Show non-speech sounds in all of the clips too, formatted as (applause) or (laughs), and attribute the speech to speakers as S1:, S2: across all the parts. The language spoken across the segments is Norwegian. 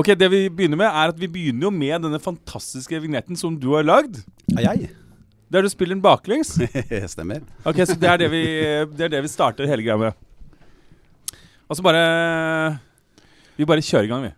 S1: Ok, Det vi begynner med, er at vi begynner jo med denne fantastiske vignetten som du har lagd.
S2: (laughs)
S3: Ja, jeg.
S1: Der du spiller den baklengs.
S3: Stemmer.
S1: Ok, Så det er det vi, det er det vi starter hele greia med. Og så bare Vi bare kjører i gang, vi.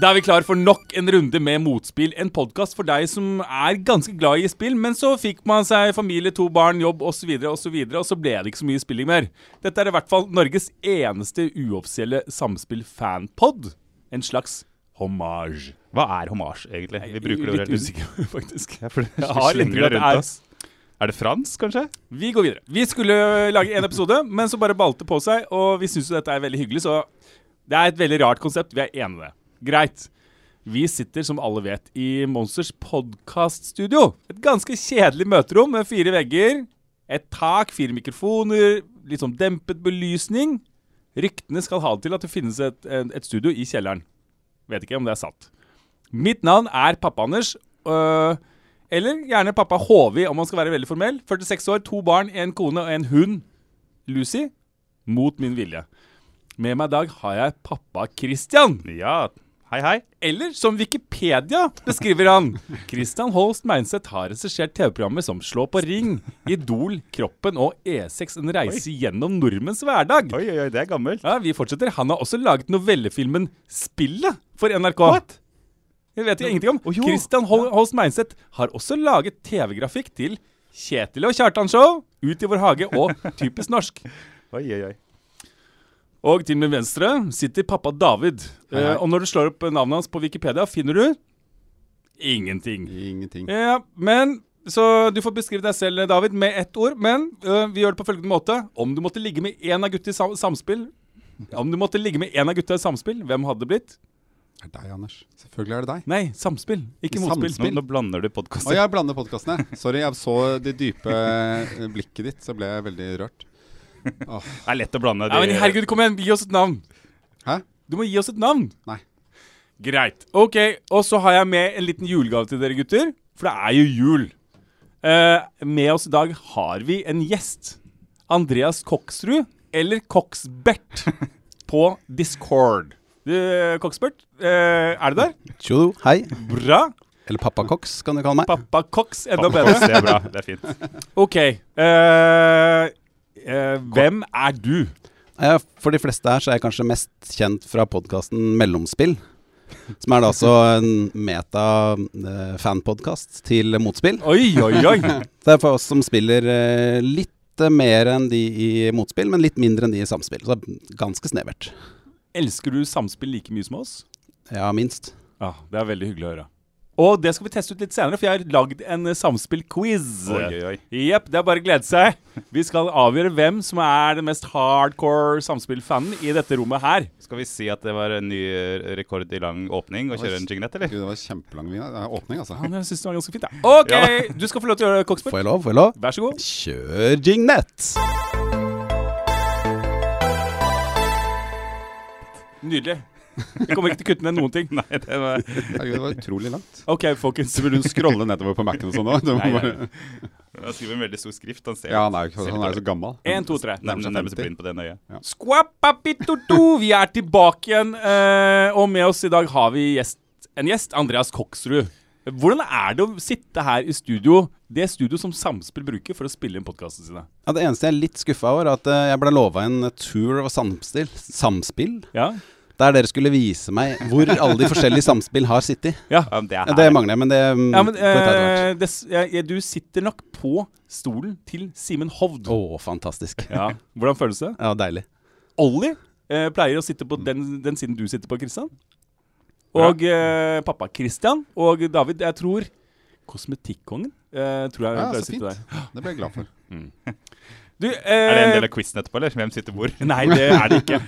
S1: Da er vi klar for nok en runde med Motspill, en podkast for deg som er ganske glad i spill, men så fikk man seg familie, to barn, jobb osv., og, så videre, og så ble det ikke så mye spilling mer. Dette er i hvert fall Norges eneste uoffisielle samspill-fanpod. En slags hommage.
S4: Hva er hommage, egentlig? Vi bruker det
S1: Litt
S4: ordet hele tiden.
S1: usikker, (laughs) faktisk.
S4: Ja, (laughs) for det
S1: Jeg har
S4: slenger
S1: inntrykk av at det
S4: rundt
S1: er-
S4: oss. Er det fransk, kanskje?
S1: Vi går videre. Vi skulle lage en episode, men så bare balte på seg, og vi syns jo dette er veldig hyggelig, så det er et veldig rart konsept. Vi er enige i det. Greit. Vi sitter, som alle vet, i Monsters podkaststudio. Et ganske kjedelig møterom med fire vegger, et tak, fire mikrofoner, litt sånn dempet belysning. Ryktene skal ha det til at det finnes et, en- et studio i kjelleren. Vet ikke om det er sant. Mitt navn er Pappa-Anders. øh, eller gjerne pappa HV, om man skal være veldig formell. 46 år, to barn, en kone og en hund. Lucy. Mot min vilje. Med meg i dag har jeg pappa Christian.
S4: Ja. Hei, hei.
S1: Eller som Wikipedia beskriver han. Christian Holst Meinseth har regissert TV-programmer som Slå på ring, Idol, Kroppen og E6 en reise gjennom nordmenns hverdag.
S4: Oi, oi, oi, det er gammelt.
S1: Ja, vi fortsetter. Han har også laget novellefilmen Spillet for NRK.
S4: What?
S1: Det vet jeg ingenting om.
S4: Å, jo.
S1: Christian Hol Holst Meinseth har også laget TV-grafikk til Kjetil og Kjartan Show, Ut i vår hage
S4: (laughs)
S1: og Typisk norsk.
S4: Oi, oi, oi.
S1: Og til min venstre sitter pappa David.
S3: Hei, hei.
S1: Eh, og når du slår opp navnet hans på Wikipedia, finner du ingenting.
S3: Ingenting.
S1: Ja, men Så du får beskrive deg selv, David, med ett ord. Men øh, vi gjør det på følgende måte. Om du måtte ligge med én av gutta i sam samspill Om du måtte ligge med én av gutta i samspill, hvem hadde det blitt?
S3: Det er deg, Anders. Selvfølgelig er det
S1: (laughs)
S3: deg.
S1: Nei, samspill, ikke motspill.
S3: Samspill.
S4: Nå, nå blander du
S3: Å,
S4: podkaster.
S3: jeg blander podkastene. Sorry, jeg så det dype eh, blikket ditt, så ble jeg veldig rørt. Åh,
S4: Det er lett å blande.
S1: Ja, men herregud, kom igjen, gi oss et navn.
S3: Hæ?
S1: Du må gi oss et navn.
S3: Nei.
S1: Greit. Ok, og så har jeg med en liten julegave til dere gutter, for det er jo jul. Eh, med oss i dag har vi en gjest. Andreas Koksrud, eller (laughs) Koksbert, på Discord. Du, Koksbert, eh, er du der?
S2: Tjo, hei.
S1: Bra.
S2: Eller Pappa Cox, kan du kalle meg.
S1: Pappa Koks, enda bedre.
S4: Det er bra. Det er fint.
S1: Ok. eh, eh, hvem er du?
S2: Eh, For de fleste her så er jeg kanskje mest kjent fra podkasten Mellomspill. Som er da altså en meta-fanpodkast til motspill.
S1: Oi, oi, oi.
S2: Det er for oss som spiller eh, litt eh, mer enn de i motspill, men litt mindre enn de i samspill. Så ganske snevert.
S1: (laughs) Elsker du samspill like mye som oss?
S2: Ja, minst.
S1: Ja, Det er veldig hyggelig å høre. Og det skal vi teste ut litt senere, for jeg har lagd en eh, samspill-quiz.
S4: Oi, oi, oi.
S1: Jepp, det er bare å glede seg. Vi skal avgjøre hvem som er den mest hardcore samspill-fanen i dette rommet her.
S4: Skal vi si at det var en ny eh, rekord i lang åpning å kjøre en jinglett, eller?
S3: Gud, det var kjempelang vin- eh, åpning, altså.
S1: Men jeg synes det var ganske fint, jeg. OK, du skal få lov til å gjøre det, Koksberg.
S2: Får jeg lov? Får jeg lov?
S1: Vær så god.
S2: Kjør Jignett!
S1: Nydelig. Jeg kommer ikke til å kutte ned noen ting.
S4: (laughs) Nei, det var
S3: Herregud, det var utrolig langt.
S1: OK, folkens.
S3: Så vil du scrolle nedover på Mac-en og sånn òg?
S4: Nei, nei. Han skriver med veldig stor skrift. Han ser
S3: Ja, han er jo ikke- han er jo så gammel.
S1: Én, to, tre.
S4: nærmest, nærmest
S3: 50.
S4: blind på det ene øyet.
S1: Skvapapitoto! Vi er tilbake igjen, eh, og med oss i dag har vi gjest, en gjest, Andreas Koksrud. Hvordan er det å sitte her i studio, det studio som Samspill bruker for å spille inn podkastene sine?
S2: Ja, det eneste jeg er litt skuffa over, er at eh, jeg ble lova en tour av samspill, samspill.
S1: Ja?
S2: Der dere skulle vise meg hvor alle de forskjellige samspill har sittet.
S1: Ja.
S4: Ja, men det
S2: Ja,
S4: er
S2: det
S4: her.
S2: mangler jeg, men det mm,
S1: ja men
S2: får jeg ta etter hvert.
S1: eh, det, s- ja, ja, du sitter nok på stolen til Simen Hovd.
S2: Å, fantastisk.
S1: Ja. Hvordan føles det?
S2: Ja, deilig.
S1: Ollie eh, pleier å sitte på den, den siden du sitter på, Kristian. Og eh, pappa Kristian og David, jeg tror Kosmetikkongen eh, tror jeg
S3: Ja,
S1: pleier
S3: så
S1: å sitte
S3: fint.
S1: der.
S3: Det ble jeg glad for.
S1: Du, eh,
S4: Er det en del av quizen etterpå, eller? Hvem sitter hvor?
S1: Nei, det er det
S4: (laughs)
S1: ikke.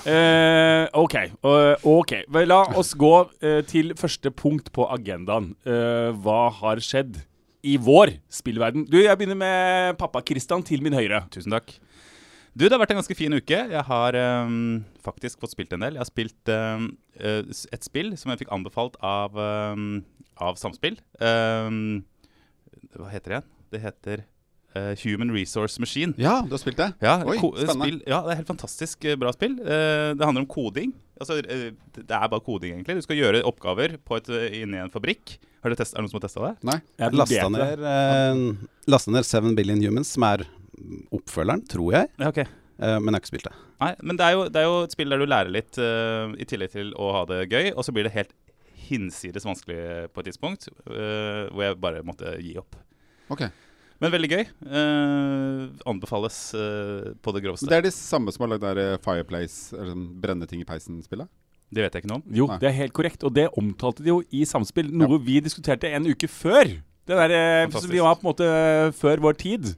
S1: Eh, ok. eh, ok. Vel, La oss gå eh, til første punkt på agendaen. Eh, hva har skjedd i vår spillverden? Du, jeg begynner med pappa Kristian til min høyre.
S4: Tusen takk. Du, det har vært en ganske fin uke. Jeg har ehm, faktisk fått spilt en del. Jeg har spilt ehm, eh, s- et spill som jeg fikk anbefalt av, ehm, av Samspill. Ehm, hva heter det igjen? Det heter eh, Human Resource Machine.
S3: Ja, du har spilt det?
S4: Ja,
S3: Oi,
S4: ko- eh,
S3: spennende.
S4: spill, ja, det er helt fantastisk eh, bra spill. Eh, det handler om koding. Altså, eh, det det er bare koding, egentlig. Du skal gjøre oppgaver på et, eh, inne i en fabrikk. Har du testet, er det noen som har testa det?
S3: Nei?
S1: Jeg
S2: Lasta
S1: vurderte det.
S2: ned, eh, lasta ned 7 Billion Humans, som er oppfølgeren, tror jeg.
S4: Ja, ok.
S2: Eh, men jeg har ikke spilt det.
S4: Nei, men det er, jo, det er jo et spill der du lærer litt eh, i tillegg til å ha det gøy, og så blir det helt hinsides vanskelig på et tidspunkt, eh, hvor jeg bare måtte gi opp.
S3: Ok.
S4: Men veldig gøy. eh, anbefales eh, på det
S3: Men
S4: groveste.
S3: det
S4: Det,
S3: er de samme som har lagd det der eh, Fireplace, eller sånn brenne ting i peisen-spillet?
S4: vet jeg ikke noe om.
S1: Jo,
S3: Nei.
S1: det er helt korrekt, og det omtalte de jo i Samspill, noe vi diskuterte en uke før. Det der eh, som
S4: Fantastisk.
S1: vi var på en måte eh, før vår tid.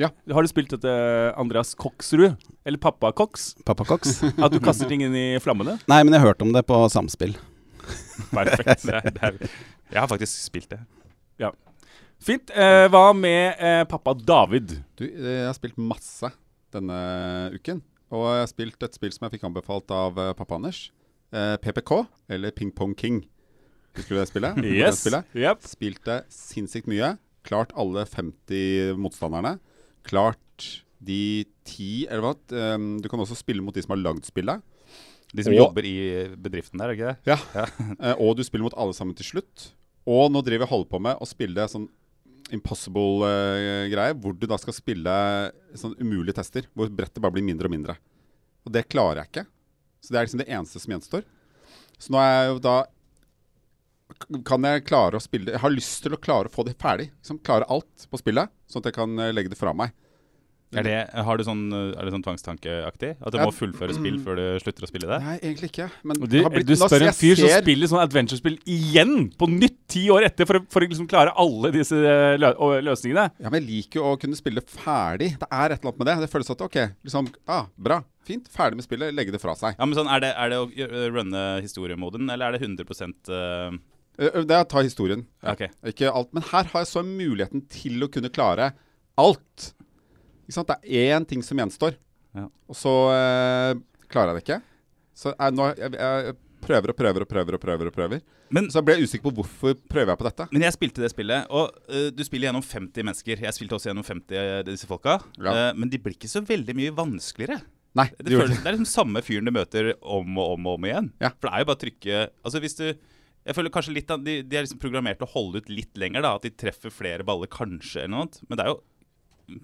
S3: Ja.
S1: Har du spilt dette Andreas Koksrud, eller pappa Koks?
S2: Papa Cox?
S1: At du kaster ting inn i flammene?
S2: Nei, men jeg hørte om det på Samspill.
S4: Perfekt. Det er, det er, jeg har faktisk spilt det.
S1: Fint. Eh, hva med eh, pappa David?
S3: Du, eh, jeg har spilt masse denne uken. Og jeg har spilt et spill som jeg fikk anbefalt av eh, pappa Anders. Eh, PPK, eller Ping Pong King. Husker du det spillet? Det
S1: Yes.
S3: spillet?
S1: Yep.
S3: Spilte sinnssykt mye. Klart alle 50 motstanderne. Klart de ti Eller hva? Ehm, Du kan også spille mot de som har lagd spillet.
S4: De som
S3: Og-
S4: jobber i eh, bedriften der, er det ikke det?
S3: Ja. (laughs) Eh, Og du spiller mot alle sammen til slutt. Og nå driver jeg og holder på med å spille sånn impossible-greie, hvor du da skal spille sånn umulige tester, hvor brettet bare blir mindre og mindre. Og det klarer jeg ikke. Så det er liksom det eneste som gjenstår. Så nå er jeg jo da kan jeg klare å spille Jeg har lyst til å klare å få det ferdig. Liksom klare alt på spillet, sånn at jeg kan eh, legge det fra meg.
S4: Er det, har du sånn, eh, er det sånn tvangstankeaktig? At du
S3: Mm. Ja.
S4: må fullføre spill før du slutter å spille det?
S3: Nei, egentlig ikke. Men
S1: Og
S3: det
S1: Du,
S3: har blitt-
S1: du
S3: nå
S1: spør en
S3: jeg
S1: fyr som
S3: ser-
S1: spiller sånn adventure-spill igjen, på nytt ti år etter, for, å- for å liksom klare alle disse eh, lø og løsningene.
S3: Ja, men jeg liker jo å kunne spille ferdig. Det er et eller annet med det. Det føles at OK, liksom ah, Bra. Fint. Ferdig med spillet. Legge det fra seg.
S4: Ja, men sånn, er, det, er det å gjø- runne historiemoden, eller er det 100 eh,
S3: Ø, ø, Det er å ta historien. Ja.
S4: Ok.
S3: Ikke alt. Men her har jeg så muligheten til å kunne klare alt. Ikke sant? Det er én ting som gjenstår,
S4: Ja.
S3: og så eh, klarer jeg det ikke. Så jeg, nå, jeg, jeg prøver og prøver og prøver og prøver. og prøver
S4: Men
S3: Så jeg ble usikker på hvorfor prøver jeg på dette.
S4: Men jeg spilte det spillet, og øh, du spiller gjennom 50 mennesker. Jeg spilte også gjennom 50 øh, disse folka.
S3: Ja.
S4: Øh, men de blir ikke så veldig mye vanskeligere.
S3: Nei,
S4: Det,
S3: det gjorde
S4: føles, det er liksom samme fyren du møter om og om og om igjen.
S3: Ja.
S4: For det er jo bare å trykke Altså hvis du jeg føler kanskje litt av, de, de er liksom programmert til å holde ut litt lenger, da, at de treffer flere baller kanskje, eller noe annet. Men det er jo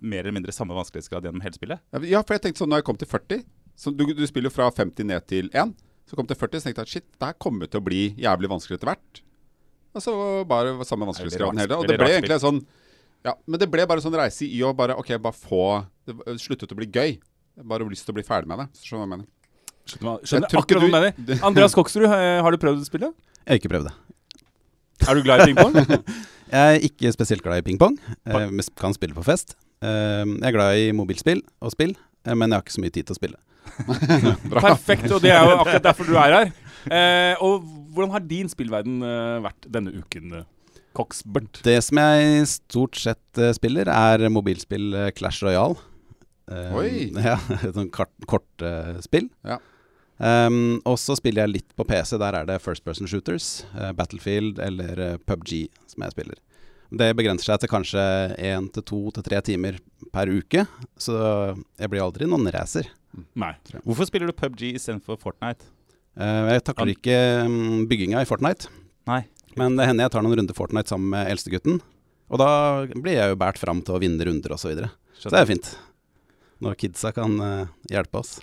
S4: mer eller mindre samme vanskelighetsgrad gjennom hele spillet.
S3: Ja, Ja, for jeg tenkte sånn når jeg kom til 40 så du, du spiller jo fra 50 ned til 1. Så kom jeg til 40, så tenkte jeg at shit, det her kommer til å bli jævlig vanskelig etter hvert. Og så bare samme vanskelighetsgraden
S4: Veldig rart-
S3: hele. Og det
S4: veldig
S3: ble
S4: rart
S3: egentlig en sånn Ja, men det ble bare sånn reise i å bare OK, bare få Det v- sluttet å bli gøy. Jeg bare lyst til å bli ferdig med det. Så skjønner du hva jeg mener.
S1: Skjønner, hva- skjønner
S3: tror ikke
S1: akkurat hva du
S3: du-
S1: mener. Andreas Koksrud, eh, har du prøvd å spille?
S2: Jeg har ikke prøvd det.
S1: Er du glad i
S3: (laughs)
S1: pingpong?
S2: (laughs) Jeg er ikke spesielt glad i ping-pong, eh, men kan spille på fest. Eh, jeg er glad i mobilspill og spill, eh, men jeg har ikke så mye tid til å spille.
S1: Perfekt, og det er jo akkurat derfor du er her. Eh, og hvordan har din spillverden eh, vært denne uken, eh, Koksbert?
S2: Det som jeg stort sett eh, spiller, er mobilspill eh, Clash Royale. Eh,
S3: Oi.
S2: (laughs) Ja, et sånt kart- kortspill.
S3: Ja.
S2: Um, og så spiller jeg litt på PC. Der er det First Person Shooters, eh, Battlefield eller eh, PubG som jeg spiller. Det begrenser seg til kanskje én til to til tre timer per uke, så jeg blir aldri noen racer.
S1: Nei.
S4: Hvorfor spiller du PubG istedenfor Fortnite?
S2: Eh, jeg takler ikke mm, bygginga i Fortnite,
S4: Nei.
S2: men det hender jeg tar noen runder Fortnite sammen med eldstegutten. Og da blir jeg jo båret fram til å vinne runder og Så, videre så det er fint. Når kidsa kan eh, hjelpe oss.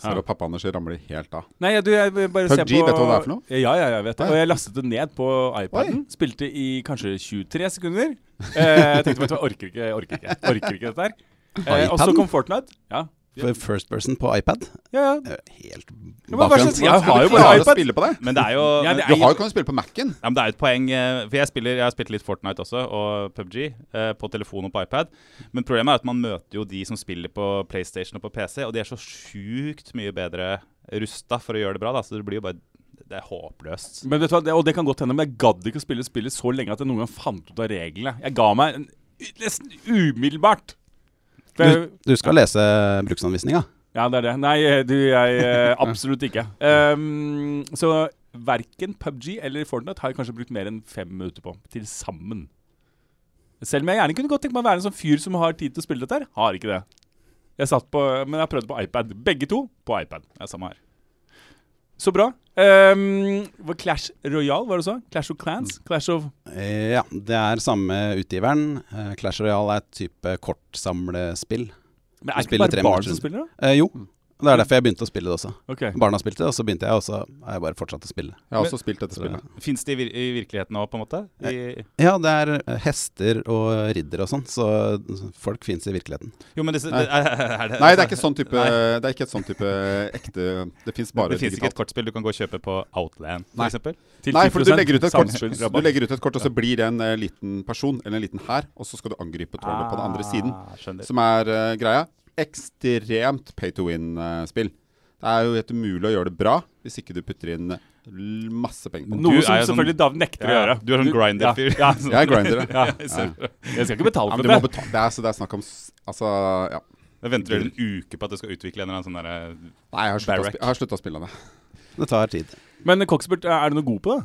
S3: Så ja. pappa Anders ramler helt av.
S1: Nei, jeg- du, jeg vil bare
S3: PUBG,
S1: ser på
S3: vet du hva det er for noe?
S1: Ja, ja, jeg vet det.
S3: Å, ja.
S1: Og jeg lastet det ned på iPaden. Spilte i kanskje 23 sekunder. Eh, Jeg tenkte vet du hva, jeg orker ikke, jeg orker ikke, jeg orker ikke dette her. Eh, og så
S2: iPaden?
S1: kom Fortnite. Ja,
S2: For First person på iPad?
S1: ja, ja.
S2: eh, Helt
S1: Ja, men hva
S2: bakvendt.
S1: slags- Jeg har jo
S3: du
S1: bare
S3: klare å
S1: iPad.
S3: spille på det?
S4: Men det er jo
S1: Ja, det
S3: Du
S1: er jo-
S3: har jo kunnet spille på Mac-en.
S4: Ja, men Det er jo et poeng. eh, For jeg, spiller, jeg har spilt litt Fortnite også, og PubG, eh, på telefon og på iPad. Men problemet er at man møter jo de som spiller på PlayStation og på PC, og de er så sjukt mye bedre rusta for å gjøre det bra, da. Så det blir jo bare Det er håpløst.
S1: Men vet du hva, det, og det kan godt hende, men jeg gadd ikke å spille spillet så lenge at jeg noen gang fant ut av reglene. Jeg ga meg en, nesten umiddelbart. For Det er,
S2: Du skal lese bruksanvisninga.
S1: ja, det er det. Nei, du, jeg eh, Absolutt ikke. Ehm, så verken PubG eller Fortnite har jeg kanskje brukt mer enn fem minutter på til sammen. Selv om jeg gjerne kunne godt tenke meg å være en sånn fyr som har tid til å spille dette her. Har ikke det. Jeg satt på, Men jeg har prøvd på iPad. Begge to på iPad.
S4: Ja, samme her.
S1: Så bra. Ehm, var Clash Royal, var det så? Clash of Clans? Clash of
S2: Eh, Ja, det er samme utgiveren. Eh, Clash Royale er et type kortsamlespill.
S1: Men
S2: Du
S1: er det ikke
S2: spiller
S1: bare
S2: tre
S1: barn
S2: matcher. Mm.
S1: som spiller, da?
S2: Eh, jo, det
S1: Mm.
S2: er derfor jeg begynte å spille det også.
S1: Ok.
S2: Barna spilte det, og så begynte jeg, og så har jeg bare fortsatt å spille.
S3: Jeg har også spilt dette
S2: Så det-
S3: spillet.
S4: Fins det i, vir i virkeligheten òg, på en måte? I,
S2: Ja, det er eh, hester og ridder og sånn, så folk fins i virkeligheten.
S4: jo, men disse er,
S3: Nei.
S4: (laughs) er det,
S3: Nei, det er ikke sånn type
S4: Nei.
S3: Det er ikke et sånn type ekte Det fins bare
S4: (laughs) Det fins ikke et
S3: digitalt.
S4: kortspill du kan gå og kjøpe på Outland,
S3: Nei.
S4: f.eks.?
S1: Til
S3: Nei, for du
S1: 10%
S3: legger, ut et kort,
S1: samspillrabatt.
S3: du legger ut et kort, og så blir det en eh, liten person eller en liten hær, og så skal du angripe trollet på den andre
S4: Ah,
S3: siden.
S4: Skjønner. (laughs)
S3: Som er eh, greia. Ekstremt pay to win-spill. det er jo helt umulig å gjøre det bra hvis ikke du putter inn l- masse penger på det.
S4: Du
S1: Noe
S4: er
S1: som
S4: jo sånn-
S1: selvfølgelig Dav nekter å
S4: Ja,
S1: gjøre.
S4: Du er sånn grinder-fyr.
S1: Ja, ja.
S3: Jeg er grinder, ja.
S1: Ja.
S4: Jeg ser det.
S1: Jeg skal ikke betale for
S3: Ja, men du må
S1: det.
S3: betale. Det er, så det er snakk om s- Altså, ja.
S4: Da venter du en uke på at du skal utvikle en eller annen sånn derre
S3: Nei, jeg har slutta å
S4: Barrack.
S3: spi- jeg har slutta å spille det.
S2: Det tar tid.
S1: Men Coxbert, er du noe god på det?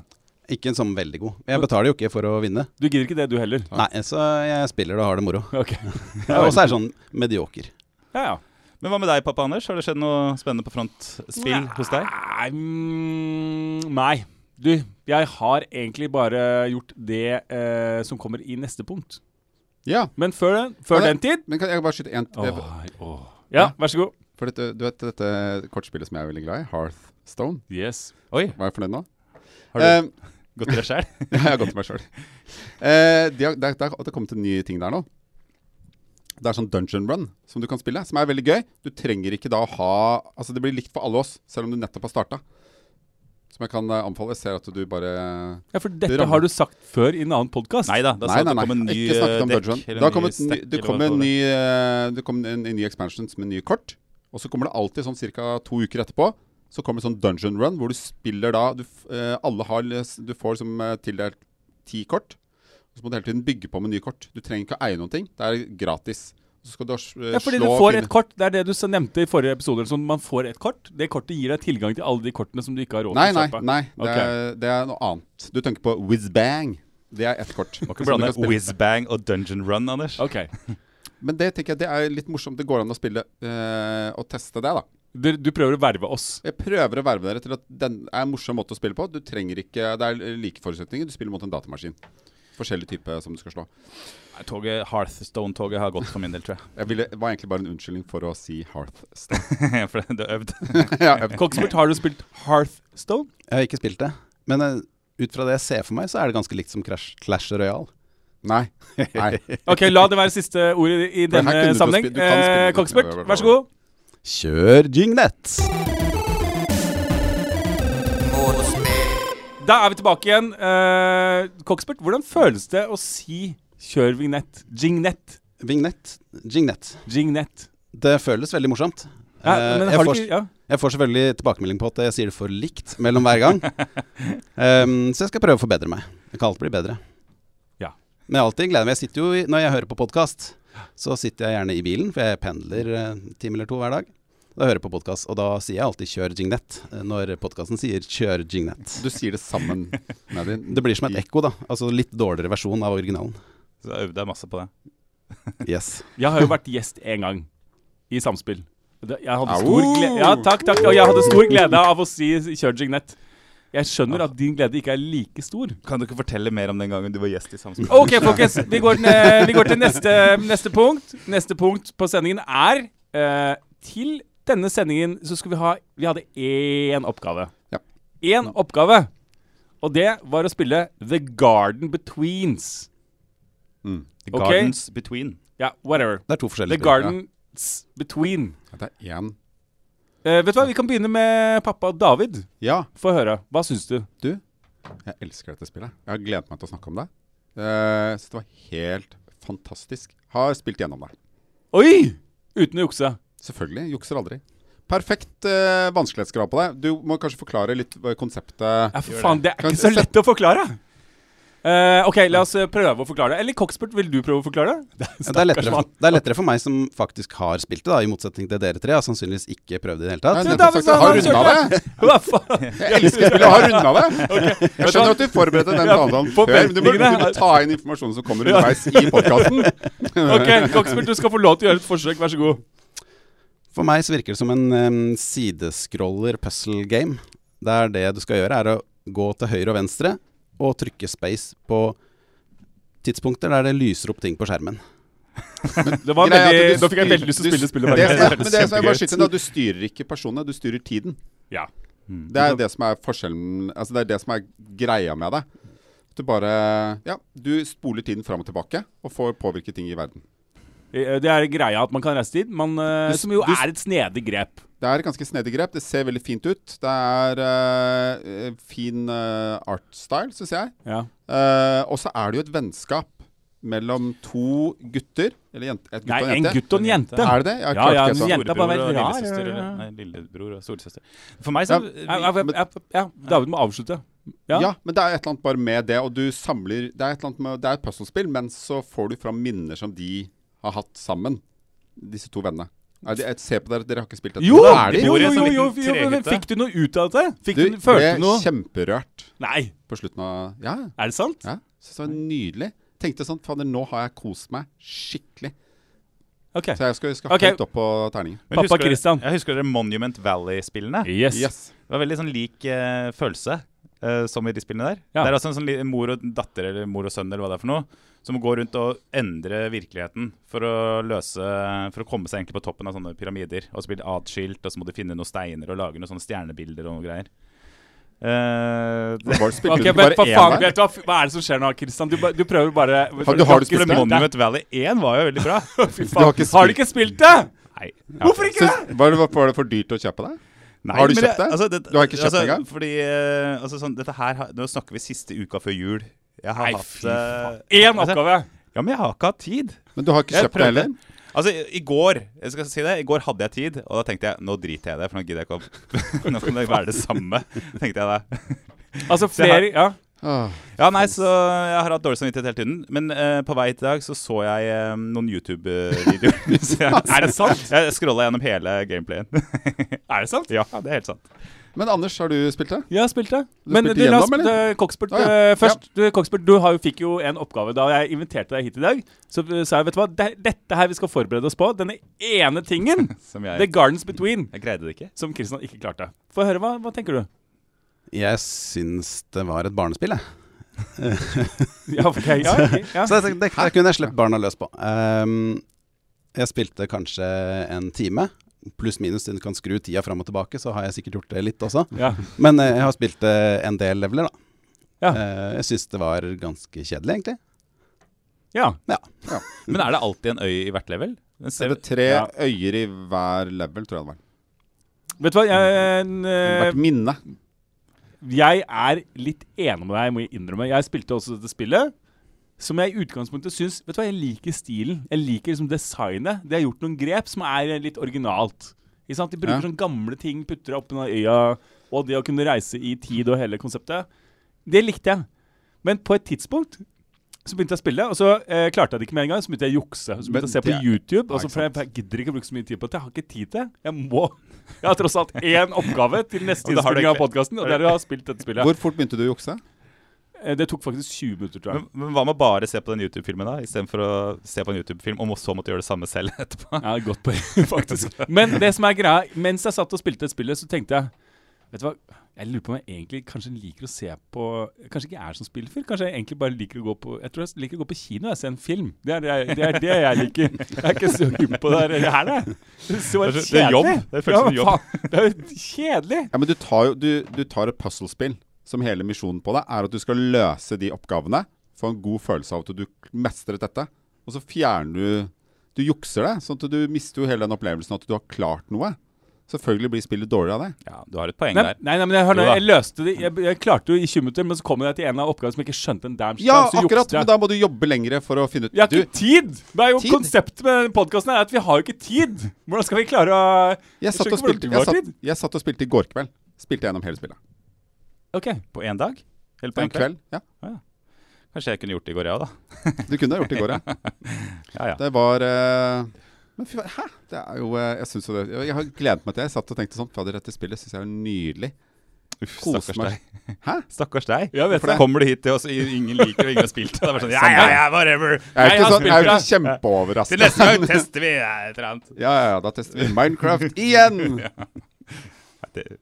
S2: Ikke en sånn veldig god. Jeg betaler jo ikke for å vinne.
S1: Du gidder ikke det, du heller? (laughs)
S2: Nei, så jeg spiller det og har det moro.
S1: Ok.
S2: Og så er det sånn medioker.
S1: Ja, ja.
S4: Men hva med deg, pappa Anders? Har det skjedd noe spennende på frontspill hos deg?
S1: Nei, mm, nei. Du, jeg har egentlig bare gjort det eh, som kommer i neste punkt.
S3: Ja.
S1: Men før, den- før
S3: Ja,
S1: den tid
S3: Men kan jeg bare skyte én
S1: Ja, vær så god.
S3: For dette, du vet dette kortspillet som jeg er veldig glad i? Hearthstone.
S1: Yes.
S4: Oi,
S3: Var jeg fornøyd nå?
S4: har du
S3: Eh,
S4: gått til deg sjæl?
S3: (laughs) Ja, jeg har gått til meg sjøl. Eh, de har- det er- det er- det har kommet en ny ting der nå. Det er sånn dungeon run som du kan spille, som er veldig gøy. Du trenger ikke da å ha Altså, det blir likt for alle oss, selv om du nettopp har starta. Som jeg kan eh, anbefale. Jeg ser at du bare
S1: Ja, for dette
S3: rammer.
S1: har du sagt før i en annen podkast.
S4: Nei da, da
S3: Nei,
S4: sa
S3: nei,
S4: det
S3: nei.
S4: kom en ny eh,
S3: ikke snakket om
S4: dekk,
S3: dungeon.
S4: eller
S3: Det, har
S4: ny
S3: kommet en ny,
S4: stack,
S3: det
S4: eller
S3: kom,
S4: hva
S3: en
S4: det
S3: ny, eh, det kom en, en ny expansion med nye kort. Og så kommer det alltid sånn ca. to uker etterpå. Så kommer det sånn dungeon run, hvor du spiller da du, f- eh, Alle har les- Du får liksom eh, tildelt ti kort. Og så må du hele tiden bygge på med nye kort. Du trenger ikke å eie noen ting. Det er gratis. Så skal du ha s- eh,
S1: Ja, fordi du
S3: slå
S1: får
S3: fine-
S1: et kort. Det er det du så nevnte i forrige episode. Sånn, man får et kort. Det kortet gir deg tilgang til alle de kortene som du ikke har råd
S3: Nei,
S1: til
S3: nei,
S1: å kjøpe.
S3: nei. Det, er, det er noe annet. Du tenker på whiz-bang. Det er ett kort.
S4: Må ikke
S3: som du
S4: blande
S3: kan spille.
S4: Whizbang og Dungeon Run, Anders.
S1: Ok.
S3: Men det tenker jeg det er litt morsomt. Det går an å spille eh, og teste det, da.
S1: Du, du prøver å verve oss.
S3: Jeg prøver å verve dere til at den er en morsom måte å spille på. Du trenger ikke, Det er like forutsetninger. Du spiller mot en datamaskin. Forskjellig type som du skal slå.
S4: Nei, Toget, Hearthstone-toget har gått for min del, tror (laughs) jeg.
S3: Jeg ville, var egentlig bare en unnskyldning for å si Hearthstone.
S4: for det- du har øvd.
S3: (laughs) ja, jeg-
S1: Kongsberg, har du spilt Hearthstone?
S2: Jeg har ikke spilt det. Men eh, ut fra det jeg ser for meg, så er det ganske likt som Crash, Clash Royale.
S3: nei. nei.
S1: Ok, la det være siste ordet i
S3: For her kunne
S1: denne
S3: du
S1: sammenheng.
S3: spille- du kan spille-
S1: Eh, Kongsberg, vær så god.
S2: Kjør Jingnet!
S1: Da er vi tilbake igjen. Eh, Kongsberg, hvordan føles det å si 'kjør vignett'? Jignett.
S2: Vignett. Jingnet.
S1: Jignett.
S2: Det føles veldig morsomt.
S1: Ja,
S2: Eh,
S1: men
S2: jeg,
S1: har du
S2: får,
S1: ikke ja.
S2: jeg får selvfølgelig tilbakemelding på at jeg sier det for likt mellom hver gang. Ehm, så jeg skal prøve å forbedre meg. Det kan alltid bli bedre.
S1: Ja.
S2: Men jeg alltid gleder meg. Jeg sitter jo i, når jeg hører på podkast, så sitter jeg gjerne i bilen, for jeg pendler eh, en time eller to hver dag. Da hører jeg på podkast, og da sier jeg alltid 'kjør jingnet' eh, når podkasten sier 'kjør jingnet'.
S3: Du sier det sammen med din.
S2: Det blir som et ekko, da. Altså litt dårligere versjon av originalen.
S4: Så jeg øvde jeg masse på det.
S2: Yes.
S1: Jeg har jo vært gjest én gang i Samspill. Det- Jeg hadde
S3: Au!
S1: stor glede Ja, takk, takk. Og jeg hadde stor glede av å si 'kjør jignett'. Jeg skjønner at din glede ikke er like stor.
S4: Kan du ikke fortelle mer om den gangen du var gjest i Samspill?
S1: Ok, folkens. Vi går, ned, vi går til neste, neste punkt. Neste punkt på sendingen er eh, Til denne sendingen så skulle vi ha Vi hadde én oppgave.
S3: Ja.
S1: Én oppgave. Og det var å spille The Garden Betweens.
S3: Mm.
S4: The
S1: ok.
S4: Gardens Between.
S1: Ja, whatever.
S2: Det er to
S1: The
S2: forskjellige spill.
S1: Gardens Between.
S3: Ja, Det er én.
S1: Eh, vet du hva, Vi kan begynne med pappa David.
S3: Ja,
S1: Få høre. Hva syns du?
S3: du. Jeg elsker dette spillet. Jeg har gledet meg til å snakke om det. Eh, så det var helt fantastisk. Har spilt gjennom det.
S1: Oi! Uten å jukse.
S3: Selvfølgelig. Jukser aldri. Perfekt eh, vanskelighetsgrad på det. Du må kanskje forklare litt eh, konseptet.
S1: Ja, for faen, det er
S3: Kan-
S1: ikke så lett å forklare. Eh, ok, la oss eh, prøve å forklare det. Eller Coxpert, vil du prøve å
S3: (laughs)
S1: forklare det?
S2: Ja, Det er, lettere for, det er lettere for meg som faktisk har spilt det, da, i motsetning til dere tre. Jeg har sannsynligvis ikke prøvd det i det hele tatt.
S1: Nei,
S3: nettopp sagt, jeg har
S1: Davidsen,
S3: runda
S1: han
S3: det.
S1: Hva faen?
S3: (laughs) Jeg elsker spillet, jeg har runda
S1: (laughs)
S3: det. Jeg skjønner at du forberedte den
S1: Ja,
S3: talen
S1: på
S3: før, men du må
S1: ventningene.
S3: kunne ta inn informasjonen som kommer underveis i podkasten.
S1: Ok, Coxpert, du skal få lov til å gjøre et forsøk, vær så god.
S2: For meg så virker det som en em, sidescroller puzzle game. Der det du skal gjøre, er å gå til høyre og venstre og trykke space på tidspunkter der det lyser opp ting på skjermen.
S1: Det var
S3: Greia er at
S1: veldig,
S3: du
S1: da fikk jeg veldig lyst til å
S3: styr-
S1: spille
S3: Det,
S1: spillet.
S3: som er-
S1: faktisk.
S3: men det som jeg
S1: Kjempegøy.
S3: bare skyter inn, da, du styrer ikke personene, du styrer tiden.
S1: Ja.
S3: Det er det som er forskjellen Altså det er det som er greia med det. Du bare Ja, du spoler tiden fram og tilbake og får påvirke ting i verden.
S1: Eh, Det er greia at man kan reise dit, man, eh,
S3: Du s-
S1: som jo
S3: du s-
S1: er et snedig grep.
S3: Det er et ganske snedig grep. Det ser veldig fint ut. Det er eh, eh, fin eh, art style, syns jeg.
S1: Ja.
S3: Eh, og så er det jo et vennskap mellom to gutter. Eller jente, et gutt
S1: Nei,
S3: og en
S1: en
S3: jente.
S1: gutt og en jente.
S3: Er det det? Jeg
S1: Ja,
S3: klarte
S1: ja,
S3: ikke helt
S1: en
S3: å-
S1: jente er bare
S4: Storebror og
S1: veldig rar,
S4: lillesøster,
S1: ja, ja, ja.
S4: Nei, lillebror og solsøster. For meg så
S1: Ja, ja, ja, ja, ja, David må avslutte.
S3: Ja.
S1: Ja.
S3: men det er et eller annet bare med det, og du samler Det er et, eller annet med, det er et puzzlespill, men så får du fram minner som de har hatt sammen, disse to vennene. Nei, de- jeg ser på dere, dere har ikke spilt dette.
S1: Jo,
S3: Hva er
S1: jo,
S3: de?
S1: jo,
S4: Gjorde
S1: jo,
S4: en
S1: jo,
S4: sånn
S1: jo,
S4: liten
S1: men
S4: tregete.
S1: Fikk du noe ut av dette? Fikk
S3: Du
S1: du, følte
S3: ble
S1: du noe?
S3: kjemperørt
S1: Nei,
S3: på slutten av Ja,
S1: er det sant?
S3: ja. Synes det var nydelig. Tenkte sånn Fader, nå har jeg kost meg skikkelig.
S1: Ok.
S3: Så jeg skal, skal
S1: Ok.
S3: høyt opp på terningen.
S1: Pappa Christian.
S4: Jeg husker dere Monument Valley-spillene.
S1: Yes.
S4: Det var veldig sånn lik eh, følelse eh, som i de spillene der.
S1: Ja.
S4: Det er altså en sånn li- mor og datter eller mor og sønn eller hva det er for noe, som går rundt og endrer virkeligheten for å løse For å komme seg egentlig på toppen av sånne pyramider. Og så blir de atskilt, og så må de finne noen steiner og lage noen sånne stjernebilder og noe greier. Eh, det,
S3: Bare, spilte
S1: Ok,
S3: du ikke
S1: men hva
S3: bare én
S1: faen,
S3: der?
S1: vet du hva, hva er det som skjer nå, Kristian? Du, ba- du prøver bare
S3: Har- du har det spilt
S1: Fy
S3: det?
S4: Monument Valley 1 var jo
S3: (laughs)
S4: veldig bra.
S1: faen.
S3: har ikke
S1: Har du
S3: spilt-
S1: ikke spilt det?
S4: Nei.
S1: Hvorfor ikke det?
S3: Syns- var, det, var det for dyrt å kjøpe det?
S4: Nei,
S3: Har du
S4: men
S3: kjøpt det?
S4: altså,
S3: Du har ikke kjøpt
S4: altså,
S3: det engang?
S4: Fordi, eh, altså, sånn, dette her, har- nå snakker vi siste uka før jul. Jeg har
S1: Nei,
S4: hatt
S1: fy faen.
S4: eh,
S1: Én
S4: altså,
S1: oppgave.
S4: Ja, men jeg har ikke hatt tid.
S3: Men du har ikke
S4: Jeg
S3: kjøpt det
S4: prøvde.
S3: heller?
S4: Altså, i, i går jeg skal si det, i går hadde jeg tid, og da tenkte jeg nå driter jeg i det, for nå gidder jeg ikke å (laughs) Nå kan det være det samme, tenkte jeg da.
S1: Altså
S4: jeg har-
S1: flere Ja.
S3: Åh.
S4: Ja, nei, så jeg har hatt dårlig samvittighet hele tiden. Men eh, på vei hit i dag så så jeg eh, noen YouTube-videoer. (laughs) Så jeg-
S1: Er det sant?
S4: Jeg scrolla gjennom hele gameplayen. (laughs)
S1: Er det sant?
S4: ja, det er helt sant.
S3: Men Anders, har du spilt det?
S1: Ja, jeg spilte.
S3: Du
S1: Men
S3: spilte
S1: du, la oss
S3: gjennom, eller?
S1: eh, Koksbert
S3: Ah, ja.
S1: eh, først. Du, Koksbert, du har jo, fikk jo en oppgave da jeg inviterte deg hit i dag. Så eh, sa jeg, vet du hva, det, dette her vi skal forberede oss på. Denne ene
S3: (laughs)
S1: tingen.
S4: Som jeg,
S1: The Gardens Between.
S4: jeg greide det ikke.
S1: Som Kristian ikke klarte. Få høre, hva, hva tenker du?
S2: Jeg syns det var et barnespill, jeg.
S1: Ja, ok, ja, ok,
S3: (laughs)
S1: ja.
S2: Så det, det, det kunne jeg sluppet barna løs på. Ehm, jeg spilte kanskje en time. Pluss minus, siden du kan skru tida fram og tilbake, så har jeg sikkert gjort det litt også.
S1: ja.
S2: Men eh, jeg har spilt eh, en del leveler, da.
S1: Ja.
S2: Eh, jeg syns det var ganske kjedelig, egentlig.
S1: ja.
S4: Men er det alltid en øy i hvert level? Den
S3: Så
S4: ser,
S3: det er tre
S1: Ja.
S3: øyer i hver level, tror jeg det var.
S1: Vet du hva, jeg, eh,
S3: Hvert minne.
S1: jeg er litt enig med deg, må jeg innrømme. Jeg spilte også dette spillet. Som jeg i utgangspunktet syns Vet du hva, jeg liker stilen. Jeg liker liksom designet. De har gjort noen grep som er eh, litt originalt. Ikke sant? De bruker
S3: Ja.
S1: sånne gamle ting, putter det opp i den øya, og det å kunne reise i tid og hele konseptet. Det likte jeg. Men på et tidspunkt så begynte jeg å spille, og så eh, klarte jeg det ikke med en gang. Så begynte jeg å jukse. Så
S3: Men
S1: begynte jeg å se
S3: det
S1: på
S3: er-
S1: YouTube. Og
S3: Ja,
S1: så
S3: ikke
S1: for jeg, jeg gidder ikke å bruke så mye tid på dette. Jeg har ikke tid til det. Jeg må (laughs) Jeg har tross alt én oppgave til neste
S4: Og det har du
S1: innspilling av
S4: ikke.
S1: podkasten, og det er å ha spilt dette spillet.
S3: Hvor fort begynte du å jukse?
S1: Eh, Det tok faktisk 20 minutter, tror jeg.
S4: men, men hva med bare se på den YouTube-filmen, da? Istedenfor å se på en YouTube-film og må- så måtte gjøre det samme selv (laughs) etterpå.
S1: Ja, godt
S4: (laughs)
S1: poeng, faktisk. Men det som er greia, mens jeg satt og spilte et spill, så tenkte jeg Vet du hva, jeg lurer på om jeg egentlig kanskje liker å se på Kanskje ikke er som spillfyr. Kanskje jeg egentlig bare liker å gå på Jeg tror jeg liker å gå på kino og se en film. Det er det, jeg- det, er det jeg liker. Jeg er ikke så gum på det her- det her, nei. Det er så
S4: Det er så- det er jobb.
S1: kjedelig.
S4: Det føles som
S1: Ja,
S4: jobb.
S1: faen, Det er jo kjedelig.
S3: Ja, men du tar jo du, du tar et puzzlespill som hele misjonen på det er at du skal løse de oppgavene. Få en god følelse av at du mestret dette. Og så fjerner du Du jukser det, sånn at du mister jo hele den opplevelsen at du har klart noe. Selvfølgelig blir spillet dårlig av det.
S4: Ja, du har et poeng
S1: Nei,
S4: der.
S1: nei, nei, men jeg, hør,
S4: Jo
S1: nå,
S4: da.
S1: jeg løste det jeg, jeg klarte jo i 20 minutter, men så kom jeg til en av oppgavene som jeg ikke skjønte en damn shit
S3: Ja,
S1: av, så
S3: akkurat.
S1: jukste jeg.
S3: Men da må du jobbe lengre for å finne ut
S1: Vi har
S3: Du,
S1: ikke tid! Det er jo
S3: Tid?
S1: Konseptet med denne podkasten er at vi har jo ikke tid! Hvordan skal vi klare å
S3: jeg satt, og
S1: skjønner ikke
S3: spilte,
S1: hvordan du
S3: jeg,
S1: har
S3: satt, jeg satt og spilte i går kveld. Spilte gjennom hele spillet.
S1: Ok.
S4: På én dag? Eller på
S3: På en kveld. Ja.
S4: Kanskje jeg kunne gjort det i går, jeg òg, da.
S3: Du kunne ha gjort det i går, ja.
S4: Ja, ja.
S3: Det var eh, Men fy faen, hæ? Det er jo eh, Jeg syns jo det Jeg jeg har gledet meg til det. Jeg satt og tenkte sånn Fader, dette spillet syns jeg er nydelig.
S4: Uff,
S3: Kos
S4: stakkars
S3: meg.
S4: deg.
S3: Hæ?
S4: Stakkars deg.
S1: Ja, vet
S4: For
S1: det.
S4: Kommer du hit til oss, i- ingen liker det, og ingen har spilt det. Det er bare sånn, ja,
S1: Samme.
S4: ja, ja, whatever.
S3: Jeg er
S1: Nei,
S3: jo ikke,
S1: han
S3: sånn, jeg er jo
S1: spilte
S3: ikke kjempeoverrasket.
S4: Til neste gang tester vi ja, et eller annet.
S3: (laughs) Ja, ja, ja, da tester vi Minecraft igjen!
S4: Nei, det-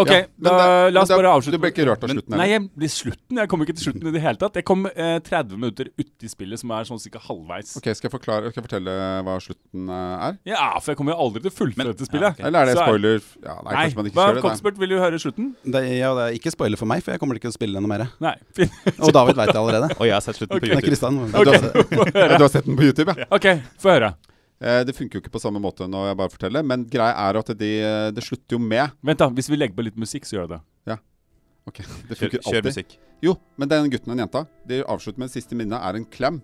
S1: OK,
S3: Ja, men
S1: da,
S3: det-
S1: la oss
S3: men da-
S1: bare
S3: Du ble
S1: avslutte.
S3: ikke rørt av
S4: Men-
S3: slutten?
S1: Nei,
S3: heller.
S1: jeg, det er slutten. Jeg kom ikke til slutten i det hele tatt. Jeg kom eh, 30 minutter uti spillet, som er sånn cirka halvveis.
S3: Ok, skal jeg, forklare, skal jeg fortelle hva slutten eh, er?
S1: Ja, for jeg kommer jo aldri til å fullføre
S4: Men-
S1: dette spillet.
S4: Ja,
S3: Eller er det
S1: Så
S3: spoiler? Ja, nei,
S1: Nei,
S3: kanskje man ikke
S1: hva,
S3: kjører det.
S1: Kongsberg, vil du høre slutten?
S2: Det, ja, det er ikke spoiler for meg, for jeg kommer ikke til å spille noe mer.
S1: Nei. (laughs) Fint.
S2: Og David veit det
S1: (laughs)
S2: allerede.
S4: Og jeg har sett slutten
S2: Nei,
S4: på YouTube.
S2: Kristian.
S3: Ja, du, har, ja, (laughs) du har sett den på YouTube, ja?
S1: OK, få høre.
S3: Eh, det funker jo ikke på samme måte når jeg bare forteller, men greia er at de, eh, det slutter jo med
S1: Vent, da. Hvis vi legger på litt musikk, så gjør det det.
S3: Ok, (laughs) det
S4: Kjør,
S3: funker
S4: kjør
S3: alltid.
S4: musikk.
S3: Jo, men den gutten og den jenta, de avslutter med det siste minnet er en klem.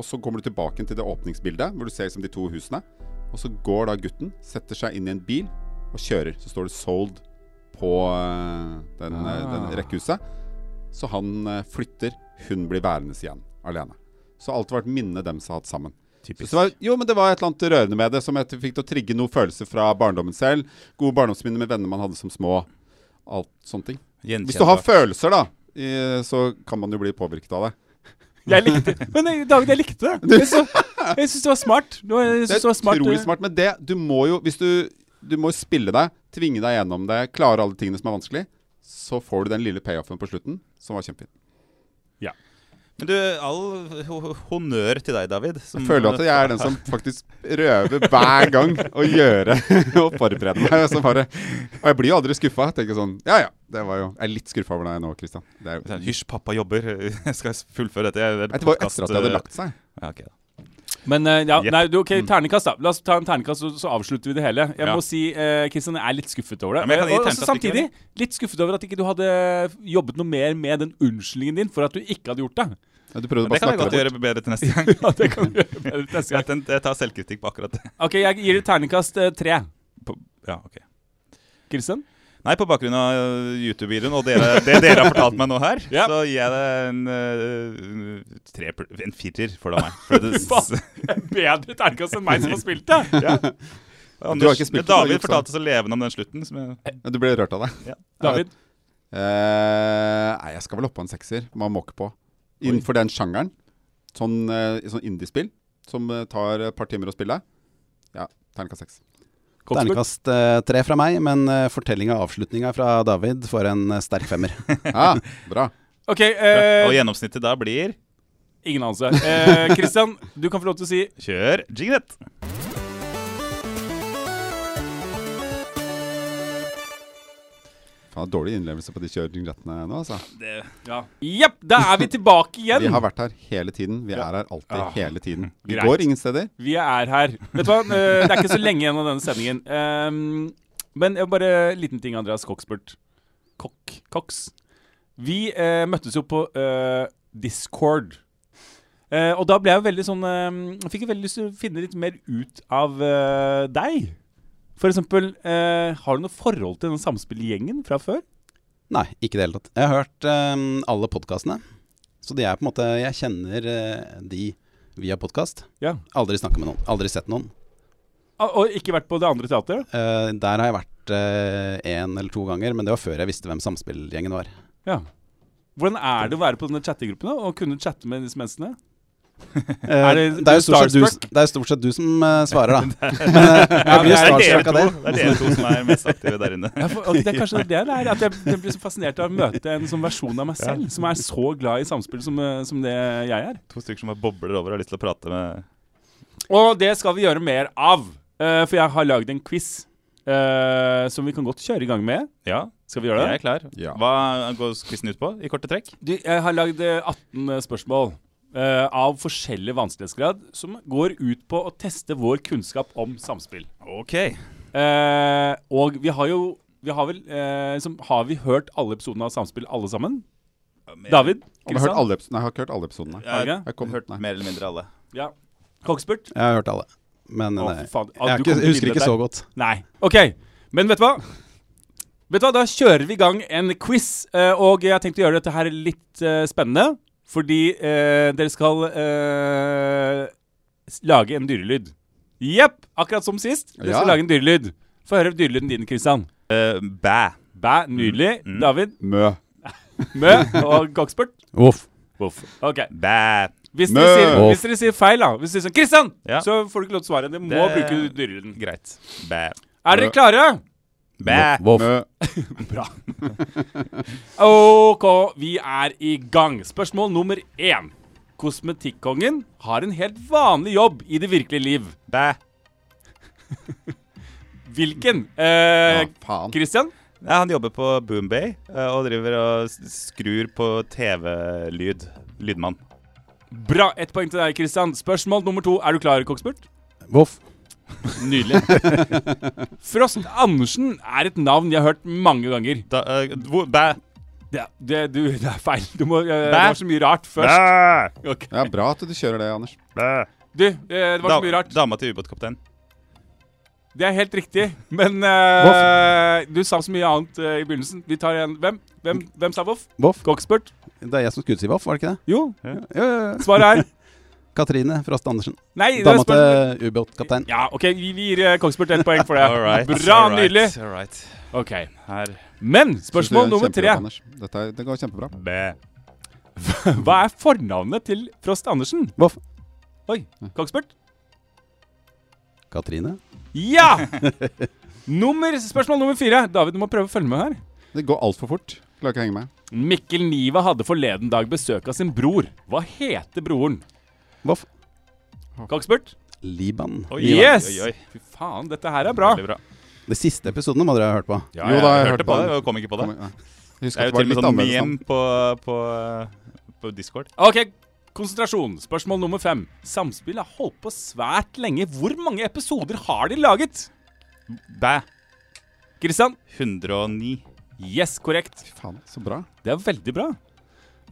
S3: Og så kommer du tilbake til det åpningsbildet, hvor du ser liksom de to husene. Og så går da gutten, setter seg inn i en bil og kjører. Så står det 'sold' på eh, den, eh, den
S1: Ah.
S3: rekkehuset. Så han eh, flytter, hun blir værende igjen alene. Så alt har vært minnet deres har hatt sammen. Så det var, jo, men det var et eller annet rørende med det som jeg fikk til å trigge noen følelser fra barndommen selv. Gode barndomsminner med venner man hadde som små. Alt sånne ting. Hvis du har
S4: Gjenkjennbart.
S3: følelser, da, i- så kan man jo bli påvirket av det.
S1: Jeg likte
S3: (laughs)
S1: Men eh, David, jeg likte det. Jeg, så- jeg syns det var smart. Det var- Jeg
S3: Det
S1: synes
S3: er
S1: det var smart.
S3: utrolig
S1: eh,
S3: smart, men det du må jo Hvis du, du må jo spille deg, tvinge deg gjennom det, klare alle tingene som er vanskelig, så får du den lille payoffen på slutten, som var kjempefin.
S4: Men du, all ho- honnør til deg, David. som-
S3: Jeg føler at jeg er den som faktisk røver hver gang å gjøre (laughs) og forberede meg. Og, så bare, og jeg blir jo aldri skuffa. Tenker sånn Ja ja, det var jo Jeg er litt skuffa over deg nå, Christian. Det er,
S4: (laughs)
S3: jo-
S4: Sånn, Hysj, pappa jobber. Jeg skal fullføre dette. Jeg,
S3: Nei, det var jo etter at
S4: eh,
S3: de hadde lagt seg.
S4: Ja, ok da.
S1: Men eh, ja,
S4: Jepp.
S1: nei, du, ok, ternekast da. La oss ta en ternekast, så, så avslutter vi det hele. Jeg
S4: Mm. Ja.
S1: må si, eh, Kristian, jeg er litt skuffet over det.
S4: Ja, men jeg kan
S1: Og-
S4: gi
S1: og,
S4: ternekast
S1: også samtidig, litt skuffet over at ikke du hadde jobbet noe mer med den unnskyldningen din for at du ikke hadde gjort det.
S4: (laughs)
S3: Ja, Du prøvde
S4: Men Det
S3: bare
S4: kan
S3: å
S4: jeg
S3: snakke
S4: godt
S3: det bort.
S4: gjøre bedre til neste gang.
S1: Ja, det kan vi gjøre bedre neste gang.
S4: Jeg, ten- jeg tar selvkritikk på akkurat det.
S1: Ok, jeg gir deg ternekast eh, tre.
S4: På, ja, ok (laughs)
S1: Kristian?
S4: Nei, på bakgrunn av øh, YouTube-videoen og dere, det dere har fortalt meg nå her,
S1: Ja.
S4: så gir jeg det en, øh, tre, pl- en firer for da meg.
S1: (laughs)
S4: For det, (laughs)
S1: faen. Bedre ternekast enn meg som har spilt det!
S4: ja.
S3: Du har ikke
S4: Anders,
S3: spilt det, du har
S4: David
S3: juksa.
S4: fortalte så levende om den slutten. Som jeg,
S3: Ja, Du ble rørt av det.
S1: David?
S3: Eh, nei, jeg skal vel opp på en sekser. Man må ikke på. Innenfor den sjangeren. Sånn, eh, sånn indiespill som eh, tar et par timer å spille. Ja, terningkast seks.
S1: Kongsberg?
S2: Ternekast eh, tre fra meg, men uh, fortellinga og avslutninga fra David får en eh, sterk
S1: (laughs)
S2: femmer.
S3: Ja, Ah, bra.
S1: Ok, eh,
S4: og gjennomsnittet da blir
S1: ingen anelse. Eh, Kristian, du kan få lov til å si
S4: Kjør jignet!
S3: Faen, det er dårlig innlevelse på de kjøringrettene nå, altså.
S1: Ja, Jepp, da er vi tilbake
S3: Vi
S1: igjen!
S3: har vært her hele tiden. Vi er her alltid,
S1: Ah,
S3: hele tiden. Vi
S1: greit.
S3: går ingen steder.
S1: Vi er her. Vet du hva, Eh, det er ikke så lenge igjen av denne sendingen. Ehm, men jeg bare en liten ting, Andreas Koksbert. Kokk. Koks. Vi eh, møttes jo på eh, Discord. Eh, og da ble jeg jo veldig sånn eh, Jeg fikk jo veldig lyst til å finne litt mer ut av eh, deg. For eksempel, eh, har du noe forhold til den samspillgjengen fra før?
S2: Nei, ikke i det hele tatt. Jeg har hørt eh, alle podkastene, så de er på en måte Jeg kjenner eh, de via podkast.
S1: Ja.
S2: Aldri snakka med noen. Aldri sett noen.
S1: Ah, og ikke vært på det andre teateret?
S2: Eh, der har jeg vært én eller to ganger, men det var før jeg visste hvem samspillgjengen var.
S1: Ja. Hvordan er det å være på denne chattegruppen da, og kunne chatte med disse menneskene?
S2: Eh,
S1: Er
S2: det,
S1: det-
S2: er jo stort sett
S1: starstruck?
S2: du, det er jo stort sett du som eh,
S1: (laughs)
S2: svarer, da. Men eh,
S1: Ja,
S2: jeg
S1: men
S2: blir
S1: det er
S4: dere
S2: starstruck
S4: to,
S2: av det.
S4: det er dere to som er mest aktive der inne.
S1: Ja, for, og det er kanskje det det er, at jeg, jeg blir så fascinert av å møte en sånn versjon av meg selv, som er så glad i samspill som, eh, som det jeg er.
S4: To stykker som bare bobler over og har lyst til å prate med
S1: Og det skal vi gjøre mer av, eh, for jeg har lagd en quiz eh, som vi kan godt kjøre i gang med.
S4: Ja,
S1: Skal vi gjøre
S4: jeg
S1: det?
S4: er klar.
S3: Ja.
S4: Hva går quizen ut på, i korte trekk?
S1: Du, jeg har lagd eh, 18 spørsmål. eh, av forskjellig vanskelighetsgrad, som går ut på å teste vår kunnskap om samspill.
S4: Ok.
S1: Eh, og vi har jo vi har, vel, eh, liksom, har vi hørt alle episodene av Samspill, alle sammen? David?
S3: Og vi har hørt
S1: Kristian?
S3: alle episo- Nei, jeg har ikke hørt alle episodene.
S4: Jeg har
S1: Hage?
S3: Jeg kom,
S4: hørt
S3: nei.
S4: mer eller mindre alle.
S1: Ja. Kongsburt?
S2: Jeg har hørt alle. Men
S1: Å,
S2: nei,
S1: fy faen. Ah,
S2: jeg, er
S1: du
S2: ikke,
S1: kom til
S2: jeg husker
S1: bildet
S2: ikke
S1: der.
S2: så godt.
S1: Nei. OK. Men vet du hva? Vet du hva, Da kjører vi i gang en quiz, eh, og jeg har tenkt å gjøre dette her litt eh, spennende. Fordi eh, dere skal eh, s- lage en dyrelyd. Jepp! Akkurat som sist. Dere skal
S3: Ja.
S1: lage en dyrelyd. Få høre dyrelyden din, Kristian.
S4: Eh, bæ.
S1: Bæ, nydelig.
S4: Mm.
S1: David,
S3: Mø.
S1: Mø og Koksbert.
S2: Voff.
S1: Voff. Ok.
S4: Bæ.
S1: Hvis
S3: Mø.
S1: dere, sier,
S2: Voff.
S1: hvis dere sier feil, da Hvis dere sier sånn, Kristian,
S4: Ja.
S1: så får du ikke lov til å svare. Dere må
S4: Det-
S1: bruke dyrelyden.
S4: Greit. Bæ.
S1: Er
S3: Mø.
S1: dere klare?
S4: Bæ.
S2: Voff.
S3: Mø.
S1: Bra. OK, vi er i gang. Spørsmål nummer én. Kosmetikkongen har en helt vanlig jobb i det virkelige liv.
S4: Bæ.
S1: Hvilken? Eh,
S3: Ja, faen.
S1: Christian?
S4: Ja, han jobber på Boombay eh, og driver og s- skrur på TV-lyd. Lydmann.
S1: Bra. Ett poeng til deg, Christian. Spørsmål nummer to. Er du klar, Koksburt?
S2: Voff.
S1: Nydelig. Frost Andersen er et navn jeg har hørt mange ganger.
S4: (laughs) Da, eh, hvor, bæ.
S1: Det, det, du, det er feil. Du må, eh, det
S4: Bæ?
S1: var så mye rart først.
S4: Bæ.
S1: Ok.
S3: Ja, bra at du kjører det, Anders.
S4: Bæ.
S1: Du, eh, det var
S4: Da,
S1: så mye rart.
S4: dama til ubåtkapteinen.
S1: Det er helt riktig, men eh, du sa så mye annet eh, i begynnelsen. Vi tar en Hvem Hvem, hvem sa voff?
S2: Voff.
S1: Koksburt?
S2: Det er jeg som skulle si voff, var det ikke det?
S1: Jo,
S2: Ja, ja, ja.
S1: svaret er
S2: Katrine Frost Andersen.
S1: Nei. det er
S2: Dama
S1: spørsmål-
S2: til ubåtkaptein.
S1: Ja, OK, vi, vi gir eh, Koksburt ett poeng for det.
S4: (laughs) All right,
S1: Bra,
S4: all right,
S1: nydelig.
S4: all right.
S1: Ok,
S4: Her.
S1: Men
S3: Synes du gjør
S1: spørsmål
S3: en
S1: nummer
S3: kjempejobb,
S1: tre.
S3: Anders. Dette er, det går kjempebra.
S4: Bæ.
S1: Hva er fornavnet til Frost Andersen?
S2: Voff.
S1: Oi, Koksburt?
S2: Katrine.
S1: Ja! Nummer, spørsmål nummer fire. David, du må prøve å følge med her.
S3: Det går altfor fort. Klarer ikke å henge med.
S1: Mikkel Niva hadde forleden dag besøk av sin bror. Hva heter broren?
S2: Voff.
S1: Koksburt?
S2: Liban.
S4: Oi,
S1: Yes!
S4: oi, oi, oi.
S1: Fy faen, dette her er bra.
S4: Veldig bra.
S2: De siste episodene må dere ha hørt på.
S4: Ja,
S3: Jo
S4: jeg,
S3: da, jeg
S4: hørte
S3: hørte
S4: på
S3: på
S4: det,
S3: den.
S4: og kom ikke på det.
S3: Kom- ja. Jeg
S4: Det er
S3: husker
S4: jo
S3: at det var
S4: til og med
S3: litt
S4: sånn
S3: annerledes.
S4: meme
S3: navn.
S4: på, på, på Discord.
S1: Ok, konsentrasjon. Spørsmål nummer fem. Samspill har holdt på svært lenge. Hvor mange episoder har de laget?
S4: Bæ.
S1: Kristian?
S4: 109.
S1: Yes, korrekt.
S3: Fy Faen, så bra.
S1: Det er veldig bra.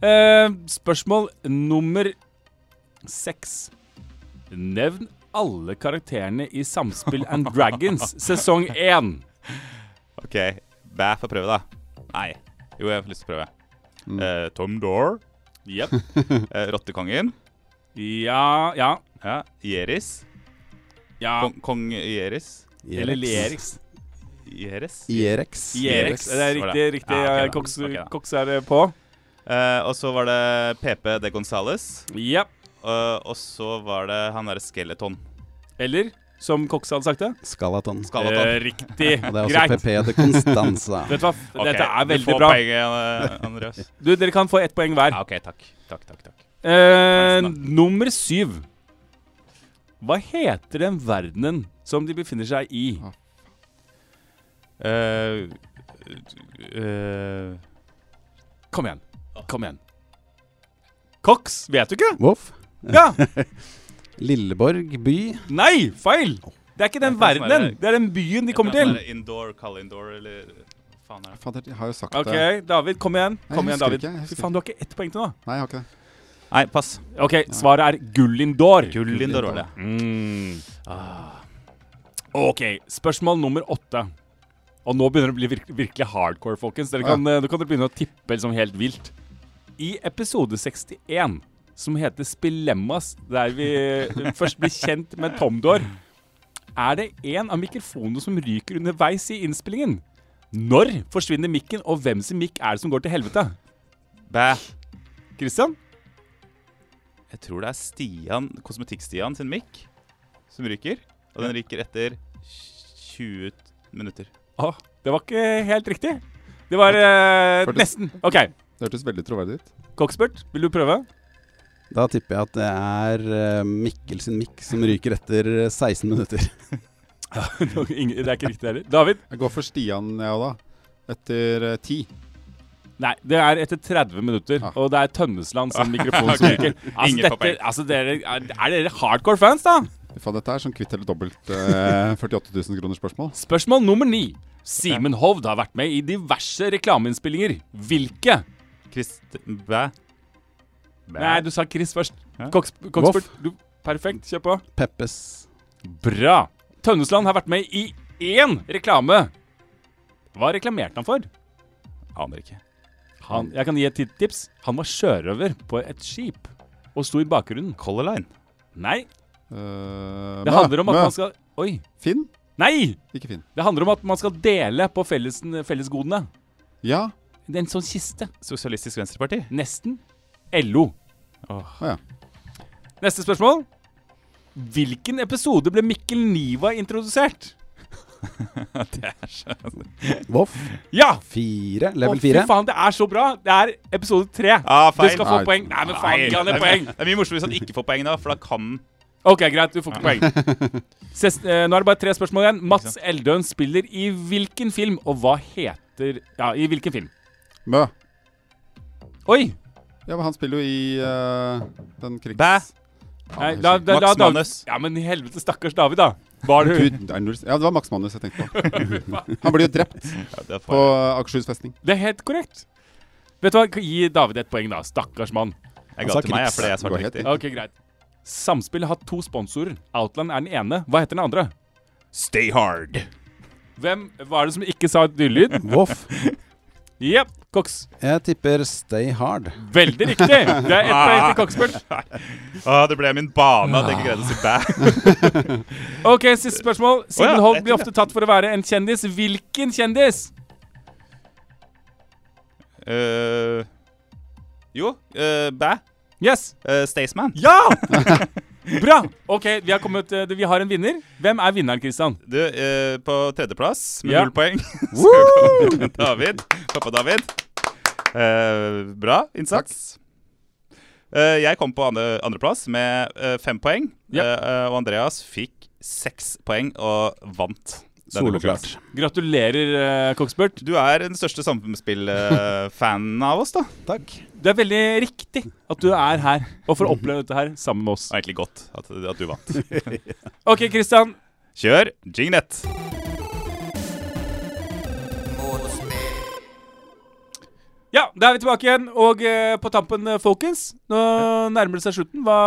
S1: Eh, spørsmål nummer seks. Nevn alle karakterene i Samspill and Dragons sesong én.
S4: OK. Bæ, få prøve, da. Nei. Jo, jeg har lyst til å prøve. Eh, Tom Door.
S1: Jep.
S4: eh, Rottekongen.
S1: Ja, ja,
S4: Ja. Jeris.
S1: ja.
S4: Kong, kong Jeris.
S1: Eller Lerix.
S4: Jeris.
S2: Jerex.
S1: Jerex. Det er
S4: var
S1: riktig.
S4: det.
S1: riktig.
S4: Ja, ok da.
S1: Koks,
S4: Ok da.
S1: Koks er eh, på.
S4: Eh, og så var det PP de Gonzales.
S1: Jep.
S4: eh, og så var det han derre Skeleton.
S1: Eller, som Koks hadde sagt det
S2: Skalaton. Og
S4: Skalaton.
S1: Eh, riktig.
S2: det er også
S1: Greit.
S2: PP til Constanza.
S1: (laughs) Vet du hva?
S4: Ok,
S1: Dette er
S4: du
S1: veldig
S4: får
S1: bra.
S4: Poenget, eh, Andreas.
S1: (laughs) Du, dere kan få ett poeng hver.
S4: Ja, OK, takk. Takk, takk, takk.
S1: Eh,
S4: Nice,
S1: nummer syv. Hva heter den verdenen som de befinner seg i?
S4: Eh, eh,
S1: Kom igjen. Kom igjen. Koks, vet du ikke?
S2: Voff.
S1: (laughs) Ja!
S2: Lilleborg by.
S1: Nei, feil! Det er ikke den
S4: Det er ikke sånn
S1: verdenen.
S4: der-
S1: Det er den byen de kommer til.
S4: Indoor, kall indoor, eller faen er det?
S3: Fader, jeg har jo sagt
S1: OK,
S3: det.
S1: David. Kom igjen.
S3: Nei,
S1: Kom igjen,
S3: jeg husker
S1: David.
S3: ikke, jeg husker
S1: Fy faen, du har ikke ett poeng til nå.
S3: Nei, jeg har ikke det.
S4: Nei, pass.
S1: OK, svaret er Gullindor.
S4: Gullindor var det.
S1: Mm. OK, spørsmål nummer åtte. Og nå begynner det å bli virk virkelig hardcore, folkens. Dere kan, eh, Nå kan dere begynne å tippe liksom helt vilt. I episode 61, som heter Spilemmas, der vi eh, (laughs) først blir kjent med Tomdor, er det én av mikrofonene som ryker underveis i innspillingen. Når forsvinner mikken, og hvem sin mikk er det som går til helvete?
S4: Bæ.
S1: Christian?
S4: Jeg tror det er Stian, Kosmetikk-Stian sin mikk som ryker. Og den ryker etter 20 minutter.
S1: Åh, det var ikke helt riktig. Det var eh,
S3: Førti-
S1: nesten. OK.
S3: Det hørtes veldig troverdig ut.
S1: Koksbert, vil du prøve?
S2: Da tipper jeg at det er eh, Mikkel sin mikk som ryker etter 16 minutter.
S1: (laughs)
S2: (laughs)
S1: Ingen- det er ikke riktig heller. David?
S3: Jeg går for Stian, jeg òg, da. Etter eh, ti.
S1: Nei, det er etter 30 minutter,
S3: Ah.
S1: og det er Tønnesland som mikrofon som
S4: Ok.
S1: ryker. Altså,
S4: Ingen får
S1: dette,
S4: poeng.
S1: altså dere, er, er dere hardcore fans, da?
S3: Fy Faen, dette er sånn kvitt eller dobbelt eh, (laughs) 48 000 kroner spørsmål.
S1: Spørsmål nummer ni. Simen Hovd har vært med i diverse reklameinnspillinger. Hvilke?
S4: Krist... Bæ. Bæ.
S1: Nei, du sa Chris først.
S4: Hæ?
S1: Koks, Koksbert. Du, perfekt, kjør på.
S2: Peppes.
S1: Bra. Tønnesland har vært med i én reklame. Hva reklamerte han for?
S4: Aner ikke.
S1: Han, jeg kan gi et ti- tips. Han var sjørøver på et skip og sto i bakgrunnen.
S4: Color Line.
S1: Nei,
S3: Eh,
S1: det
S3: Mø,
S1: handler om at
S3: Mø.
S1: man skal Oi.
S3: Finn?
S1: Nei!
S3: Ikke Finn.
S1: Det handler om at man skal dele på felles, fellesgodene.
S3: Ja.
S1: Det er en sånn kiste.
S4: Sosialistisk Venstreparti. (laughs)
S1: Nesten. LO.
S3: Å ja.
S1: Neste spørsmål. Hvilken episode ble Mikkel Niva introdusert?
S4: Det er så
S2: Voff
S1: Ja! Å,
S2: 4, level
S1: fy
S2: 4.
S1: faen, det er så bra! Det er episode tre.
S4: ah,
S1: Du skal få
S3: Nei.
S1: poeng. Nei, men faen,
S4: Nei,
S1: gi han
S4: det
S1: et
S4: er-
S1: poeng.
S4: Det er mye morsomt hvis han ikke får poeng, da, for da kan
S1: Ok, greit, du får ikke poeng. Ses, eh, nå er det bare tre spørsmål igjen. Mats
S4: sant.
S1: Eldøen spiller i hvilken film, og hva heter Ja, i hvilken film?
S3: Mø.
S1: Oi!
S3: Ja, men han spiller jo i eh, den krigs...
S4: Bæ!
S1: Nei, da, da, da,
S4: Max
S1: da,
S4: Manus.
S1: ja, men i helvete, stakkars David, da. Var du
S3: Gud, det er null- Ja, det var Max Manus jeg tenkte på. Han blir jo drept
S4: Ja, det er
S3: på
S4: farlig.
S3: Akershus festning.
S1: Det er helt korrekt. Vet du hva, gi David et poeng, da. Stakkars mann.
S4: Jeg
S2: Han
S4: ga
S2: sa
S4: til meg, jeg, fordi jeg
S3: krigs-
S4: svarte
S3: Du har helt
S4: riktig.
S1: Ok, greit. Samspill har to sponsorer. Outland er den ene. Hva heter den andre?
S4: Stay hard.
S1: Hvem var det som ikke sa et dyrelyd?
S2: Voff.
S1: Jepp, Cox.
S2: Jeg tipper Stay Hard.
S1: Veldig riktig! Det er ett poeng til Coxburn.
S4: Ah, det ble min bane at jeg ikke greide å si
S1: (laughs)
S4: bæ.
S1: Ok, siste spørsmål.
S4: Å
S1: Siden
S4: ja,
S1: Holt
S4: jeg
S1: blir
S4: tror
S1: ofte tatt for å være en kjendis, hvilken kjendis?
S4: Eh, jo, eh, bæ.
S1: Yes!
S4: Eh, Staysman.
S1: Ja! (laughs) Bra! Ok, vi har, kommet, eh, vi har en vinner. Hvem er vinneren, Christian?
S4: Du, eh, på tredjeplass med
S1: Ja.
S4: null
S1: (laughs)
S4: poeng (laughs) så kommer David. Pappa David. Eh, bra innsats. Eh, jeg kom på andre, andreplass med eh, fem poeng.
S1: Ja.
S4: Eh, eh, og Andreas fikk seks poeng og vant. denne
S2: Soloklart.
S4: konkurransen.
S1: Gratulerer, eh, Coxbert.
S4: Du er den største
S1: (laughs)
S4: samfunnsspillfanen av oss, da.
S2: Takk.
S1: Det er veldig riktig at du er her og får oppleve dette her sammen med oss.
S4: Det var egentlig godt at, at du vant.
S1: Ok, Christian.
S4: Kjør jingnet.
S1: Ja, da er vi tilbake igjen. Og eh, på tampen, eh, folkens, nå nærmer det seg slutten. Hva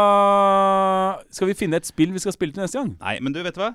S1: Skal vi finne et spill vi skal spille til neste gang?
S4: Nei, men du, vet du hva?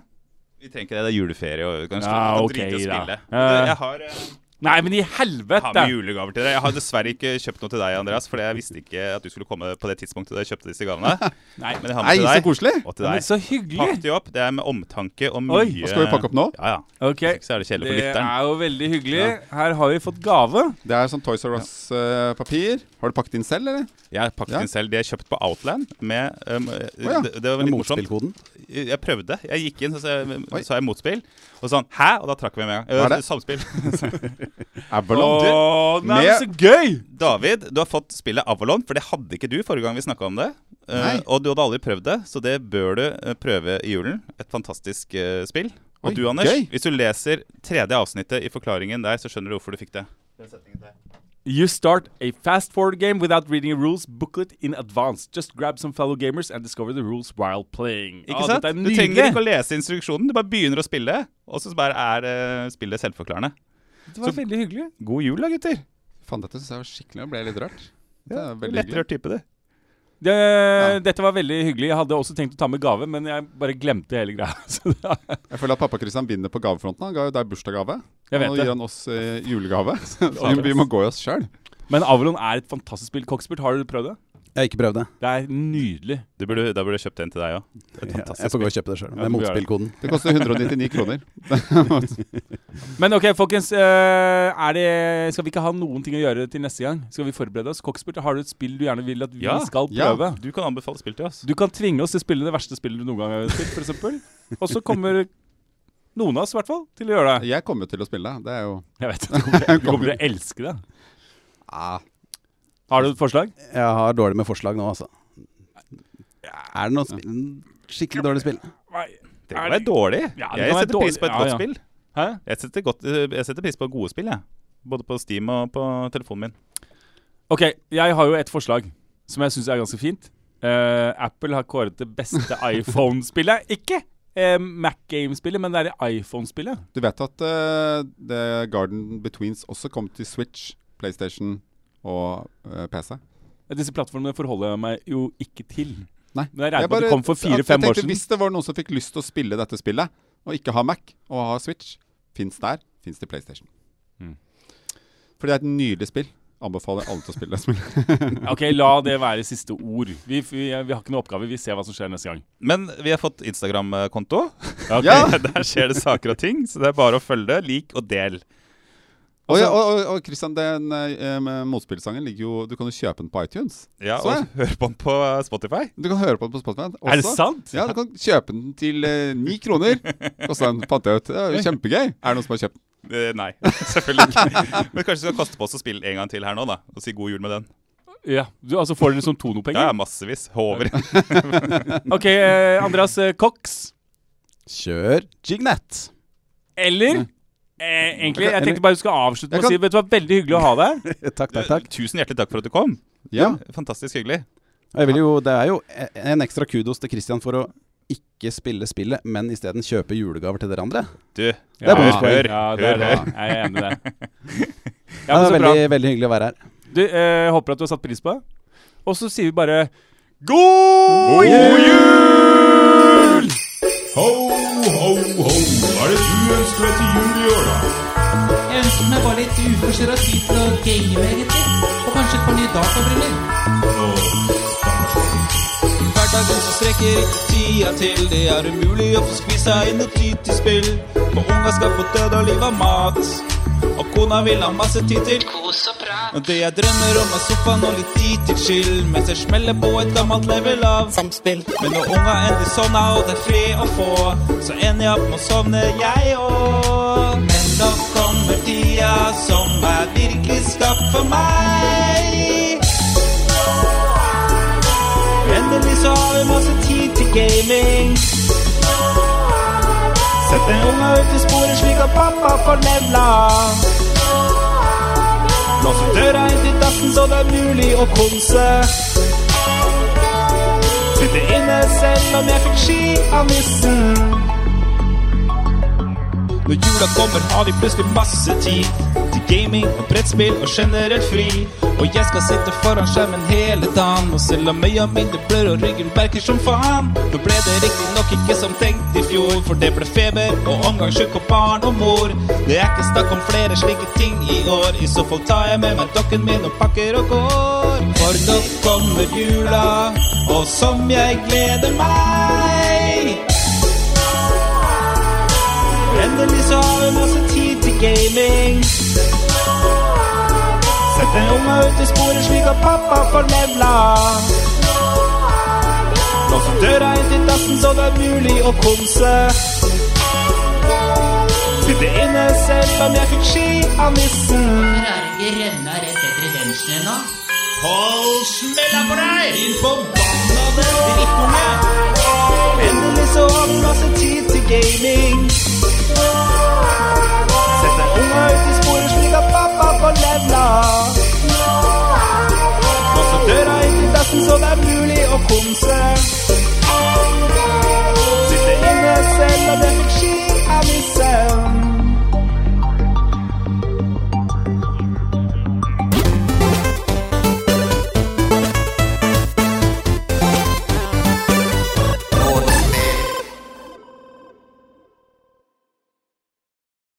S4: Vi trenger ikke det. Det er juleferie. Og vi kan
S1: Ja,
S4: kan
S1: ok,
S4: drite i å
S1: da.
S4: spille.
S1: Eh.
S4: Jeg har, eh,
S1: Nei, men i
S4: har
S1: helvete!
S4: med julegaver til deg. Jeg har dessverre ikke kjøpt noe til deg, Andreas, fordi jeg visste ikke at du skulle komme på det tidspunktet da jeg kjøpte disse gavene.
S3: (laughs)
S1: Nei,
S4: Men jeg har
S3: Nei,
S4: med
S3: så
S4: til deg.
S3: koselig!
S4: Og til
S1: men
S4: deg.
S1: så
S4: Pakk
S1: hyggelig!
S4: de opp. Det er med omtanke og mye
S1: Oi.
S3: Hva skal vi pakke opp nå?
S4: Ja, ja.
S1: Ok,
S4: Hvis ikke så er det kjedelig for
S1: Det
S4: lytteren.
S1: er jo veldig hyggelig. Her har vi fått gave.
S3: Det er sånn Toys R Us-papir. Har du pakket inn selv, eller?
S4: Jeg har pakket
S3: Ja.
S4: inn selv. De er kjøpt på Outland med um, eh,
S3: ja.
S4: det, det var
S2: Med
S4: litt morsomt.
S2: motspillkoden.
S4: Jeg prøvde. Jeg gikk inn, så sa jeg,
S3: Oi.
S4: så jeg motspill. Og sånn Hæ? Og da trakk vi med en gang.
S3: Hva
S4: Eh,
S3: er det?
S4: Samspill.
S3: Avalon.
S1: Åh, nei,
S3: med-
S1: men så gøy!
S4: David, du har fått spillet Avalon, for det hadde ikke du forrige gang vi snakka om det. Eh,
S3: Nei.
S4: og du hadde aldri prøvd det, så det bør du eh, prøve i julen. Et fantastisk eh, spill. Og
S3: Oi,
S4: du, Anders,
S3: gøy.
S4: hvis du leser tredje avsnittet i forklaringen der, så skjønner du hvorfor du fikk det.
S1: You start a fast forward game without reading a rules booklet in advance. Just grab some fellow gamers and discover the rules while playing.
S4: Ikke
S1: Å,
S4: sant?
S1: dette er
S4: Du trenger ikke
S1: nydelig.
S4: å lese instruksjonen, du bare begynner å spille, og så bare er eh, spillet selvforklarende.
S1: Det var veldig hyggelig.
S4: God jul da, gutter.
S3: Faen, dette syns jeg var skikkelig Nå ble jeg litt rørt. Det er veldig hyggelig.
S4: Lettrørt type, du.
S1: Det, Dette var veldig hyggelig. Jeg hadde også tenkt å ta med gave, men jeg bare glemte hele greia. (laughs) Så da,
S3: Jeg føler at pappa Christian vinner på gavefronten. Han ga jo deg bursdagsgave.
S1: jeg
S3: Nå
S1: vet
S3: gir
S1: det.
S3: han oss eh, julegave. Så vi må gå i oss sjøl.
S1: Men Avalon er et fantastisk spill. Coxbert, har du prøvd det?
S2: Jeg har ikke prøvd det.
S1: Det er nydelig.
S4: du burde, da burde jeg kjøpt en til deg òg.
S2: Jeg får gå og kjøpe det
S1: Ja,
S2: sjøl,
S1: du
S2: med
S1: gjør det.
S2: motspillkoden.
S3: Det koster 199 kroner. (laughs)
S1: Men ok, folkens. eh, Er det, skal vi ikke ha noen ting å gjøre til neste gang? Skal vi forberede oss? Coxbert, har du et spill du gjerne vil at vi
S4: Ja,
S1: skal
S3: ja.
S1: prøve?
S4: Du kan anbefale spill til oss.
S1: Du kan tvinge oss til å spille det verste spillet du noen gang har spilt, f.eks. Og så kommer noen av oss, i hvert fall, til å gjøre det.
S3: Jeg kommer til å spille. Det er jo
S1: Jeg vet Du kommer, du kommer til å elske det.
S2: Ah,
S1: Har du et forslag?
S2: Jeg har dårlig med forslag nå, altså. Er det noe spill? Skikkelig dårlig spill.
S1: Nei.
S4: Det kan være dårlig.
S1: Ja, det kan
S4: jeg
S1: være
S4: setter pris
S1: dårlig.
S4: på et
S1: Ja,
S4: godt
S1: ja.
S4: spill.
S1: Hæ?
S4: Jeg setter, godt, jeg setter pris på gode spill, jeg. Både på Steam og på telefonen min.
S1: OK, jeg har jo et forslag som jeg syns er ganske fint. Eh, Apple har kåret det
S3: (laughs)
S1: beste iPhone-spillet. Ikke eh, Mac Game-spillet, men det er iPhone-spillet.
S3: Du vet at eh, The Garden Betweens også kom til Switch, PlayStation og eh, PC.
S1: Disse plattformene forholder jeg meg jo ikke til.
S3: Nei.
S1: Men jeg regner med at
S3: Jeg bare-
S1: det kom for
S3: at jeg
S1: fire-fem år
S3: tenkte,
S1: siden.
S3: Hvis det var noen som fikk lyst til å spille dette spillet, og ikke ha Mac, og ha Switch, fins der, fins det PlayStation.
S1: Mm.
S3: For det er et nydelig spill. Anbefaler alle til å spille
S1: (laughs)
S3: det spillet.
S1: Ok, la det være siste ord. Vi, vi, vi har ikke noen oppgave, vi ser hva som skjer neste gang.
S4: Men vi har fått Instagram-konto. (laughs)
S1: Ok.
S3: Ja.
S4: Der skjer det saker og ting, så det er bare å følge det. Lik og del.
S3: Og,
S1: Altså-
S3: ja, og, og- og Christian, den eh, med motspillsangen ligger jo Du kan jo kjøpe den på iTunes.
S4: Ja,
S3: Så
S4: og hør på den på eh, Spotify.
S3: Du kan høre på den på Spotify.
S1: Er det
S3: også.
S1: sant?
S3: Ja, du kan kjøpe den til eh, ni
S1: (laughs)
S3: kroner. Kosta den, fant jeg ut. Det er jo kjempegøy. Er det noen som har kjøpt den?
S4: Eh, nei, (laughs) selvfølgelig ikke. Men kanskje vi skal koste på oss å spille en gang til her nå, da. Og si god jul med den.
S1: Ja. Du, altså får dere sånn
S4: Ja, ja,
S1: tonopenger?
S4: massevis. Håver.
S1: Ok, eh, Andreas eh, Cox.
S2: Kjør
S1: (laughs)
S2: Jignett.
S1: Eller eh, Egentlig, jeg tenkte bare du skal avslutte med
S3: Jeg
S1: å si Vet du hva, veldig hyggelig å ha deg. her.
S2: Takk, takk, takk.
S4: Tusen hjertelig takk for at du kom.
S3: Ja.
S4: Fantastisk hyggelig.
S2: Og jeg vil jo, det er jo e- en ekstra kudos til Christian for å ikke spille spillet, men isteden kjøpe julegaver til dere andre.
S4: Du,
S1: Det er
S4: hør,
S2: bonuspoeng.
S4: hør,
S1: Ja, det er
S4: hør.
S1: det.
S4: hør.
S1: Jeg er enig med deg. Ja,
S2: Ja,
S1: men
S2: det
S1: så
S2: er
S1: bra.
S2: veldig, veldig hyggelig å være her.
S1: Du, eh, håper at du har satt pris på det. Og så sier vi bare God jul!
S5: Ho, ho, ho, hva er det du ønsker deg til jul i år, da?
S6: Jeg ønsker meg bare litt uforstyrra tid til å game, egentlig. Og kanskje et par nye databriller. Hverdagen som strekker ikke tida til, det er umulig å få skvisa inn noe tid til spill. For unga skal få død og liv av mat. Og kona vil ha masse tid til kos og prat. Og det jeg drømmer om, er sofaen og litt tid til chill. Mens jeg smeller på et gammelt level av samspill. Men når unga endelig sovna, og det er fred å få, så ender jeg opp med å sovne, jeg òg. Men nå kommer tida som er virkelig skapt for meg. Endelig så har vi masse tid til gaming. Sett den unga ut i sporet slik at pappa får levla. Lås ut døra inn til dassen så det er mulig å konse. Sitte inne selv om jeg fikk ski av nissen. Når jula kommer har vi plutselig masse tid til gaming og brettspill og generelt fri. Og jeg skal sitte foran skjermen hele dagen, og selv om øya mine blør og ryggen verker som faen, nå ble det riktignok ikke som tenkt i fjor, for det ble feber og omgangssjuk og barn og mor. Det er ikke snakk om flere slike ting i år, i så fall tar jeg med meg dokken min og pakker og går. For nå kommer jula, og som jeg gleder meg. Endelig så har vi masse tid til gaming. Sett den unga ut i sporet slik at pappa får levla. Lås opp døra inn til dassen så det er mulig å konse. Sitte inne selv om jeg fikk ski av nissen.
S7: Her er det ikke renna rett etter lunsjen ennå.
S5: Hold smella på deg!
S6: Din forbannede drittunge.
S7: Endelig så har vi masse tid til gaming. Sett deg unga ut i sporet slik at pappa får levla.